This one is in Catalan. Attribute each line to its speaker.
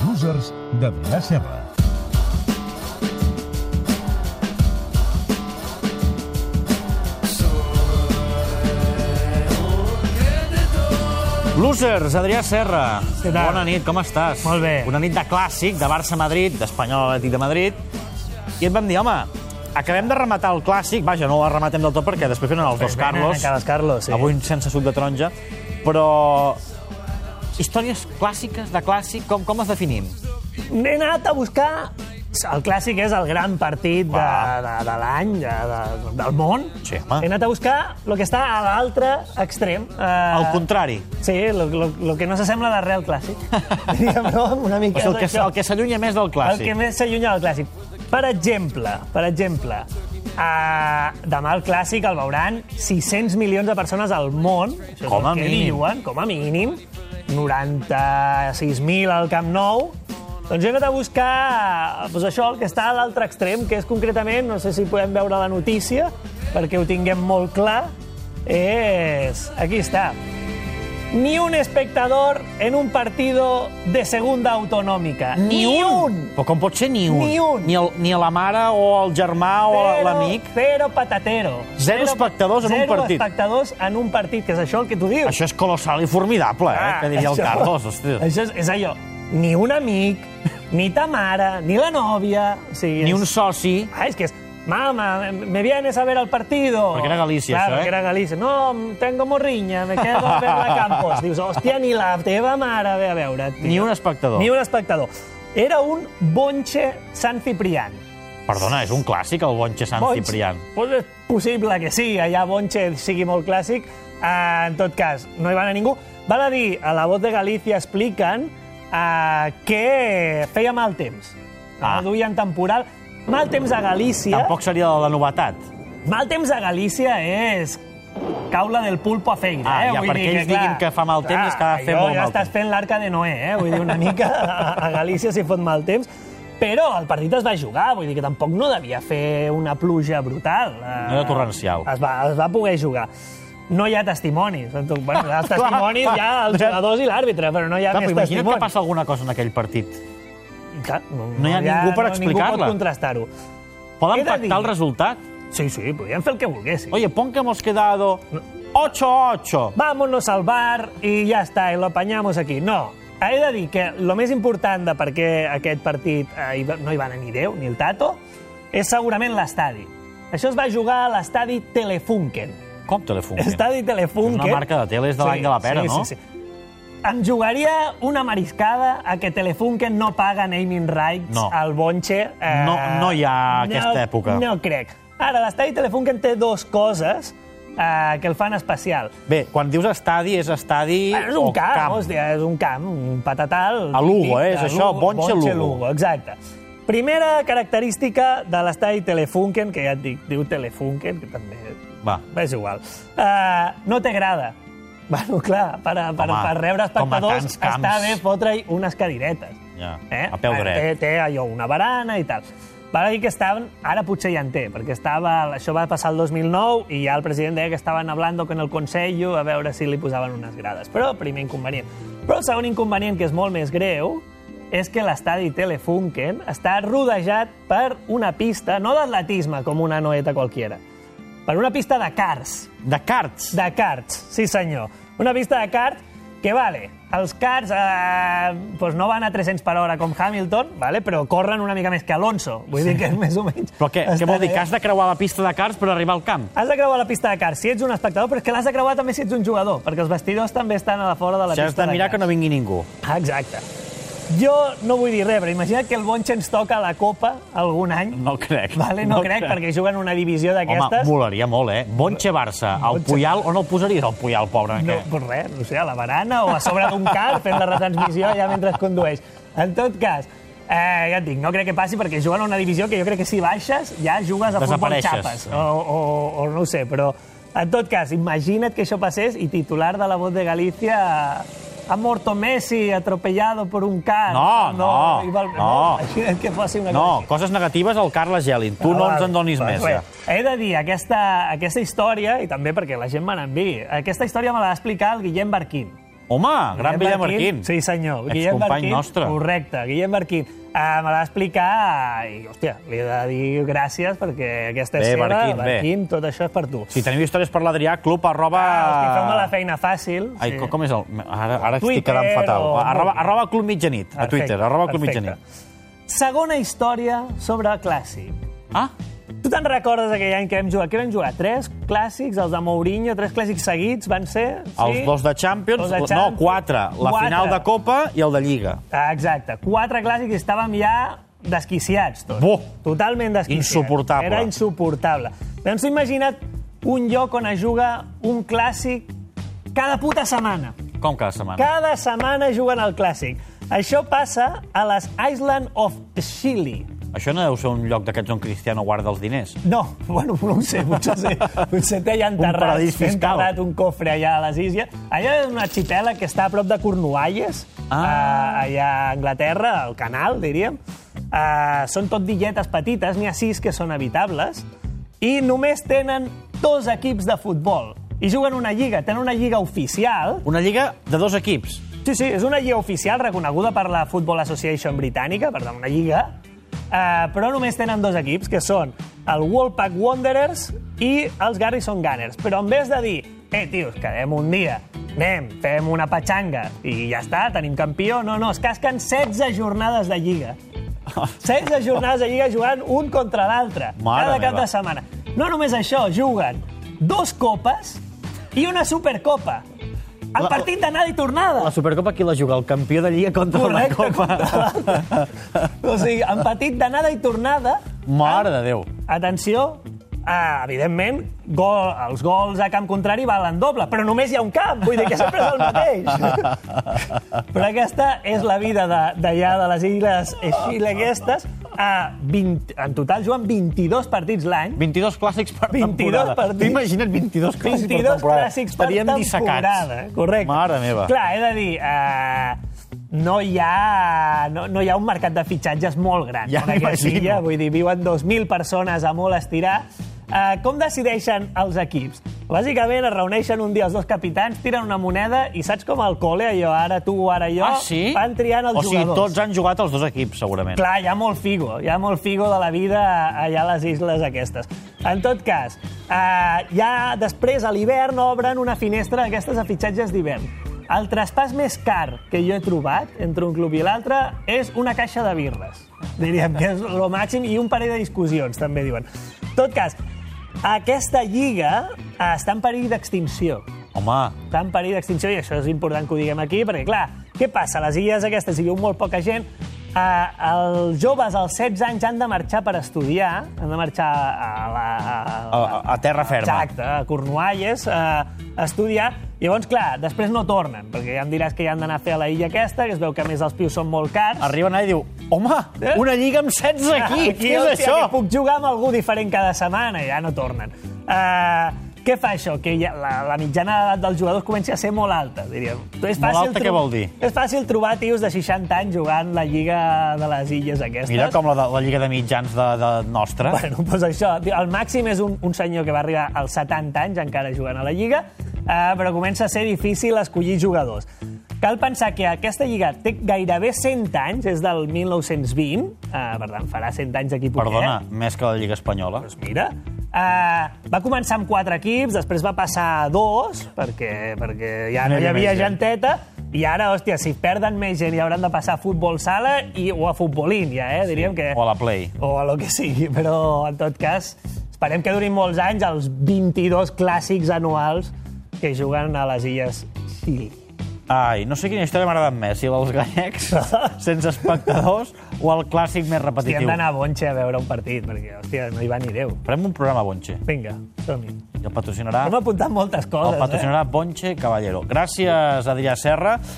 Speaker 1: Comerç, Adrià Serra.
Speaker 2: Losers, Adrià Serra.
Speaker 3: Què tal?
Speaker 2: Bona nit, com estàs?
Speaker 3: Molt bé.
Speaker 2: Una nit de clàssic, de Barça-Madrid, d'Espanyol Atlètic de Madrid. I et vam dir, home, acabem de rematar el clàssic. Vaja, no el rematem del tot perquè després venen els dos
Speaker 3: Venen
Speaker 2: Carlos.
Speaker 3: encara els Ah, Carlos, sí.
Speaker 2: Avui sense suc de taronja. Però històries clàssiques, de clàssic, com, com les definim?
Speaker 3: He anat a buscar... El clàssic és el gran partit de,
Speaker 2: Va.
Speaker 3: de, de l'any, de, de, del món.
Speaker 2: Sí, home.
Speaker 3: He anat a buscar el que està a l'altre extrem. Eh,
Speaker 2: Al contrari.
Speaker 3: Sí, el que no s'assembla de res al clàssic. Diguem-ho una
Speaker 2: O
Speaker 3: mica.
Speaker 2: sigui, el que,
Speaker 3: d'això.
Speaker 2: el que s'allunya més del
Speaker 3: El
Speaker 2: clàssic.
Speaker 3: que més s'allunya del clàssic. Per exemple, per exemple, uh, demà el clàssic el veuran 600 milions de persones al món. Això és
Speaker 2: Com a
Speaker 3: el que
Speaker 2: mínim.
Speaker 3: Diuen, com a mínim. 96.000 al Camp Nou. Doncs he anat a buscar eh, doncs això, el que està a l'altre extrem, que és concretament, no sé si podem veure la notícia, perquè ho tinguem molt clar, és... Aquí està. Ni un espectador en un partido de segunda autonómica.
Speaker 2: Ni, un! Però com pot ser ni un?
Speaker 3: Ni un.
Speaker 2: Ni, el, ni la mare o el germà o
Speaker 3: Cero-
Speaker 2: l'amic?
Speaker 3: Cero patatero.
Speaker 2: Zero espectadors en un partit.
Speaker 3: Zero espectadors en un partit, que és això el que tu dius.
Speaker 2: Això és colossal i formidable, eh? Que diria el
Speaker 3: Ah, això-
Speaker 2: Carlos, hòstia.
Speaker 3: Això és, és allò. Ni un amic, ni ta mare, ni la nòvia... O sigui,
Speaker 2: Ni
Speaker 3: és-
Speaker 2: un soci.
Speaker 3: Ah, es que es, mamá, me vienes a ver al partido.
Speaker 2: Porque era Galicia
Speaker 3: Claro,
Speaker 2: eso, ¿eh?
Speaker 3: que era Galicia. No, tengo morriña, me quedo a ver la Campos. Dius, hòstia, ni la teva mare ve a veure. Tio.
Speaker 2: Ni un espectador.
Speaker 3: Ni un espectador. Era un bonche Sant Ciprián.
Speaker 2: Perdona, és un clàssic, el Bonche Sant
Speaker 3: Bonche.
Speaker 2: Ciprián.
Speaker 3: Pues és possible que sí, allà bonche sigui molt clàssic. Eh, en tot cas, no hi va anar ningú. Val a dir, a la Voz de Galícia expliquen eh, que feia mal temps.
Speaker 2: Ah.
Speaker 3: Ah. Duien temporal. Mal temps a Galícia.
Speaker 2: Tampoc seria la novetat.
Speaker 3: Mal temps a Galícia és caula del pulpo a feina,
Speaker 2: Ah,
Speaker 3: eh?
Speaker 2: ja, perquè ells diguin que fa mal temps és que ha de fer
Speaker 3: allò
Speaker 2: molt
Speaker 3: ja
Speaker 2: mal
Speaker 3: estàs
Speaker 2: temps.
Speaker 3: fent l'arca de Noé, eh? Vull dir, una mica a, a Galícia s'hi fot mal temps. Però el partit es va jugar, vull dir que tampoc no devia fer una pluja brutal. eh?
Speaker 2: No era torrencial.
Speaker 3: Es va, es va poder jugar. No hi ha testimonis. Bueno, els
Speaker 2: Clar,
Speaker 3: testimonis
Speaker 2: clar.
Speaker 3: hi ha els jugadors i l'àrbitre, però no hi ha
Speaker 2: Clar, però
Speaker 3: més
Speaker 2: imagina't que
Speaker 3: testimonis.
Speaker 2: passa alguna cosa en aquell partit.
Speaker 3: Clar, no,
Speaker 2: No hi ha ningú per
Speaker 3: Ningú
Speaker 2: explicar-la.
Speaker 3: pot contrastar-ho. He
Speaker 2: Poden
Speaker 3: de dir-
Speaker 2: pactar el resultat?
Speaker 3: Sí, sí, podíem fer el que volguéssim.
Speaker 2: Oye, pon que hemos quedado 8-8.
Speaker 3: vámonos al bar i ja està, i lo apañamos aquí. No, he de dir que el més important de per què aquest partit eh, hi va- no hi va anar ni Déu ni el Tato és segurament l'estadi. Això es va jugar a l'estadi Telefunken.
Speaker 2: Com Telefunken?
Speaker 3: Estadi Telefunken.
Speaker 2: És una marca de teles de l'any de la pera,
Speaker 3: sí,
Speaker 2: no?
Speaker 3: Sí, sí. Em jugaria una mariscada a que Telefunken no paga naming rights
Speaker 2: No.
Speaker 3: al Bonche. Eh,
Speaker 2: No- no hi ha aquesta
Speaker 3: no,
Speaker 2: època.
Speaker 3: No crec. Ara, l'estadi Telefunken té dues coses eh, que el fan especial.
Speaker 2: Bé, quan dius estadi, és estadi
Speaker 3: Bueno, Ah, és
Speaker 2: o
Speaker 3: un camp,
Speaker 2: camp.
Speaker 3: hòstia, és un camp, un patatal.
Speaker 2: A Lugo,
Speaker 3: típic
Speaker 2: eh, és
Speaker 3: de
Speaker 2: això, Bonche
Speaker 3: Bonche
Speaker 2: Lugo.
Speaker 3: Lugo. Exacte. Primera característica de l'estadi Telefunken, que ja et dic, diu Telefunken, que també
Speaker 2: Va.
Speaker 3: és igual, uh, no té grada. Bueno, clar, per, a- per,
Speaker 2: Home,
Speaker 3: per rebre
Speaker 2: com a
Speaker 3: espectadors
Speaker 2: tants camps.
Speaker 3: està bé fotre-hi unes cadiretes. Eh?
Speaker 2: Ja, a peu
Speaker 3: Té,
Speaker 2: dret.
Speaker 3: té allò, una barana i tal. Va dir que estaven, ara potser ja en té, perquè estava, això va passar el 2009 i ja el president deia que estaven hablando con el Consello a veure si li posaven unes grades. Però primer inconvenient. Però el segon inconvenient, que és molt més greu, és que l'estadi Telefunken està rodejat per una pista, no d'atletisme, com una noeta qualquiera, per una pista de cars.
Speaker 2: De carts.
Speaker 3: De karts, sí senyor. Una pista de karts que, vale, els karts eh, pues no van a 300 per hora com Hamilton, vale, però corren una mica més que Alonso. Vull dir que més o menys...
Speaker 2: Però què, què
Speaker 3: estan
Speaker 2: vol dir?
Speaker 3: allà.
Speaker 2: Que has de creuar la pista de carts per arribar al camp?
Speaker 3: Has de creuar la pista de karts si ets un espectador, però és que l'has de creuar també si ets un jugador, perquè els vestidors també estan a la fora de la
Speaker 2: Si has
Speaker 3: pista
Speaker 2: de mirar
Speaker 3: de
Speaker 2: que no vingui ningú.
Speaker 3: Ah, Exacte. Jo no vull dir res, però imagina't que el Bonche ens toca la Copa algun any.
Speaker 2: No crec.
Speaker 3: Vale, no, crec, perquè juguen una divisió
Speaker 2: Home,
Speaker 3: d'aquestes.
Speaker 2: volaria molt, eh? Bonche Barça. El
Speaker 3: Bonche.
Speaker 2: Puyal, on el posaries, el Puyal, pobre?
Speaker 3: No,
Speaker 2: No.
Speaker 3: pues res, no sé, a la barana o a sobre d'un car fent la retransmissió allà mentre es condueix. En tot cas, eh, ja et dic, no crec que passi perquè juguen a una divisió que jo crec que si baixes ja jugues a futbol
Speaker 2: Desapareixes.
Speaker 3: xapes. O, o, o no ho sé, però en tot cas, imagina't que això passés i titular de la Voz de Galícia ha morto Messi atropellado por un car.
Speaker 2: No, no,
Speaker 3: i val-
Speaker 2: no.
Speaker 3: Imagina't que fossi una
Speaker 2: no,
Speaker 3: cosa així.
Speaker 2: coses negatives al Carles Gelin. Tu no
Speaker 3: Ah,
Speaker 2: ens
Speaker 3: val.
Speaker 2: en donis
Speaker 3: Doncs
Speaker 2: més.
Speaker 3: res,
Speaker 2: eh?
Speaker 3: He de dir, aquesta, aquesta història, i també perquè la gent me n'enviï, aquesta història me la va explicar el Guillem Barquín.
Speaker 2: Home, gran Guillem Marquín.
Speaker 3: Sí, senyor.
Speaker 2: Excompany nostre.
Speaker 3: Correcte, Guillem Marquín. Uh, me l'ha d'explicar i, hòstia, li he de dir gràcies perquè aquesta és
Speaker 2: Bé,
Speaker 3: seva.
Speaker 2: Marquín, bé.
Speaker 3: Marquín, tot això és per tu.
Speaker 2: Si teniu històries per l'Adrià, club arroba...
Speaker 3: Ah, els que feu-me la feina fàcil.
Speaker 2: Ai,
Speaker 3: sí.
Speaker 2: com- com és el... Ara, ara estic
Speaker 3: Twitter
Speaker 2: quedant fatal.
Speaker 3: o-
Speaker 2: Arroba, arroba club mitjanit, a
Speaker 3: Perfecte,
Speaker 2: Twitter. Arroba club
Speaker 3: perfecte.
Speaker 2: mitjanit.
Speaker 3: Segona història sobre clàssic.
Speaker 2: Ah,
Speaker 3: Tu te'n recordes aquell any que vam jugar? Què vam jugar? Tres clàssics, els de Mourinho, tres clàssics seguits, van ser... Sí?
Speaker 2: els dos de Champions,
Speaker 3: Dos de
Speaker 2: no,
Speaker 3: Champions.
Speaker 2: quatre. La
Speaker 3: Quatre.
Speaker 2: final de Copa i el de Lliga.
Speaker 3: Ah, Exacte. Quatre clàssics i estàvem ja desquiciats, tots.
Speaker 2: Buh!
Speaker 3: Totalment desquiciats.
Speaker 2: Insuportable.
Speaker 3: Era insuportable. Doncs t'ho imagina't un lloc on es juga un clàssic cada puta setmana.
Speaker 2: Com cada setmana?
Speaker 3: Cada setmana juguen al clàssic. Això passa a les Island of Chile.
Speaker 2: Això no deu ser un lloc d'aquests on Cristiano guarda els diners.
Speaker 3: No, bueno, no ho sé, potser, sé, potser té allà enterrat,
Speaker 2: paradís
Speaker 3: té
Speaker 2: fiscal.
Speaker 3: enterrat un cofre allà a les Illes. Allà és una xitela que està a prop de Cornualles,
Speaker 2: Ah.
Speaker 3: eh, allà a Anglaterra, al canal, diríem. Uh, són tot dilletes petites, n'hi ha sis que són habitables, i només tenen dos equips de futbol. I juguen una lliga, tenen una lliga oficial,
Speaker 2: Una lliga de dos equips.
Speaker 3: Sí, sí, és una lliga oficial reconeguda per la Football Association britànica, per tant, una lliga, eh, però només tenen dos equips, que són el Wolfpack Wanderers i els Garrison Gunners. Però en vez de dir, eh, tios, quedem un dia, anem, fem una petxanga i ja està, tenim campió, no, no, es casquen 16 jornades de lliga. 16 jornades de lliga jugant un contra l'altre,
Speaker 2: Mare
Speaker 3: cada cap
Speaker 2: meva.
Speaker 3: de setmana. No només això, juguen dos copes i una supercopa. El
Speaker 1: La-
Speaker 3: partit d'anada i tornada.
Speaker 1: La Supercopa qui la juga? El campió de Lliga contra
Speaker 3: Correcte,
Speaker 1: la Copa.
Speaker 3: contra l'altre. o sigui, en petit d'anada i tornada,
Speaker 2: Mare de Déu.
Speaker 3: atenció, ah, evidentment, gol, els gols a camp contrari valen doble, però només hi ha un camp, vull dir que sempre és el mateix. però aquesta és la vida de- d'allà, de, de les illes Xile aquestes. A 20, en total juguen 22 partits l'any,
Speaker 2: 22 clàssics per
Speaker 3: 22
Speaker 2: temporada.
Speaker 3: partits.
Speaker 2: T'imagina't 22 clàssics
Speaker 3: 22
Speaker 2: per temporada.
Speaker 3: clàssics per
Speaker 2: Estaríem
Speaker 3: temporada.
Speaker 2: dissecats.
Speaker 3: Correcte.
Speaker 2: Mare meva.
Speaker 3: Clar, he de dir... Uh, no hi, ha, no, no hi ha un mercat de fitxatges molt gran.
Speaker 2: Ja
Speaker 3: en aquesta
Speaker 2: m'imagino.
Speaker 3: illa. Vull dir, viuen 2.000 persones a molt estirar. Uh, com decideixen els equips? Bàsicament es reuneixen un dia els dos capitans, tiren una moneda i saps com al col·le, allò, ara tu, ara jo,
Speaker 2: Ah, sí?
Speaker 3: van triant els
Speaker 2: o sigui,
Speaker 3: jugadors.
Speaker 2: tots han jugat els dos equips, segurament.
Speaker 3: Clar, hi ha molt figo, hi ha molt figo de la vida allà a les isles aquestes. En tot cas, eh, ja després, a l'hivern, obren una finestra d'aquestes a fitxatges d'hivern. El traspàs més car que jo he trobat entre un club i l'altre és una caixa de birres. Diríem que és el màxim i un parell de discussions, també diuen. En tot cas, aquesta lliga eh, està en perill d'extinció
Speaker 2: Home,
Speaker 3: està en perill d'extinció, i això és important que ho diguem aquí, perquè, clar, què passa? A les illes aquestes hi viu molt poca gent, eh, els joves als 16 anys han de marxar per estudiar, han de marxar a la...
Speaker 2: a, a terra ferma.
Speaker 3: Exacte, a Cornualles, eh, a estudiar. Llavors, clar, després no tornen, perquè ja em diràs que ja han d'anar a fer a la illa aquesta, que es veu que, a més, els pius són molt cars.
Speaker 2: Arriben allà i diu, home,
Speaker 3: Eh?
Speaker 2: una lliga amb 16 equips,
Speaker 3: Aquí,
Speaker 2: què és
Speaker 3: hòstia,
Speaker 2: això?
Speaker 3: Ah, Que puc jugar amb algú diferent cada setmana, ja no tornen. Uh, què fa això? Que ja, la, la mitjana d'edat dels jugadors comença a ser molt alta, diríem. És
Speaker 2: Molt alta,
Speaker 3: tro-
Speaker 2: què vol dir?
Speaker 3: És fàcil trobar tios de 60 anys jugant la lliga de les illes aquestes.
Speaker 2: Mira com la, de- la lliga de mitjans de, de nostra.
Speaker 3: Bueno, doncs això, el màxim és un, un senyor que va arribar als 70 anys encara jugant a la Lliga, eh, però comença a ser difícil escollir jugadors. Cal pensar que aquesta Lliga té gairebé 100 anys, és del 1920, eh, per tant, farà 100 anys d'aquí poquet.
Speaker 2: Perdona, més que la lliga espanyola.
Speaker 3: Doncs mira, uh, va començar amb quatre equips, després va passar a dos, perquè, perquè ja no
Speaker 2: No hi
Speaker 3: hi
Speaker 2: havia
Speaker 3: havia
Speaker 2: més gent.
Speaker 3: genteta, i ara, hòstia, si perden més gent i hauran de passar a futbol sala i, o a futbolín, ja, eh? Diríem que...
Speaker 2: O a la Play.
Speaker 3: O a lo que sigui, però en tot cas, esperem que durin molts anys els 22 clàssics anuals que juguen a les illes Xili.
Speaker 2: Ai, no sé quina història m'ha agradat més, si la dels gallecs, sense espectadors, o el clàssic més
Speaker 3: Hòstia, hem
Speaker 2: repetitiu.
Speaker 3: d'anar a Bonxe a veure un partit, perquè, hòstia, no hi va ni Déu.
Speaker 2: Farem un programa Bonche,
Speaker 3: Vinga, som-hi.
Speaker 2: i el patrocinarà
Speaker 3: Hem apuntat moltes coses, eh?
Speaker 2: El patrocinarà Bonche Caballero. Gràcies, Adrià Serra.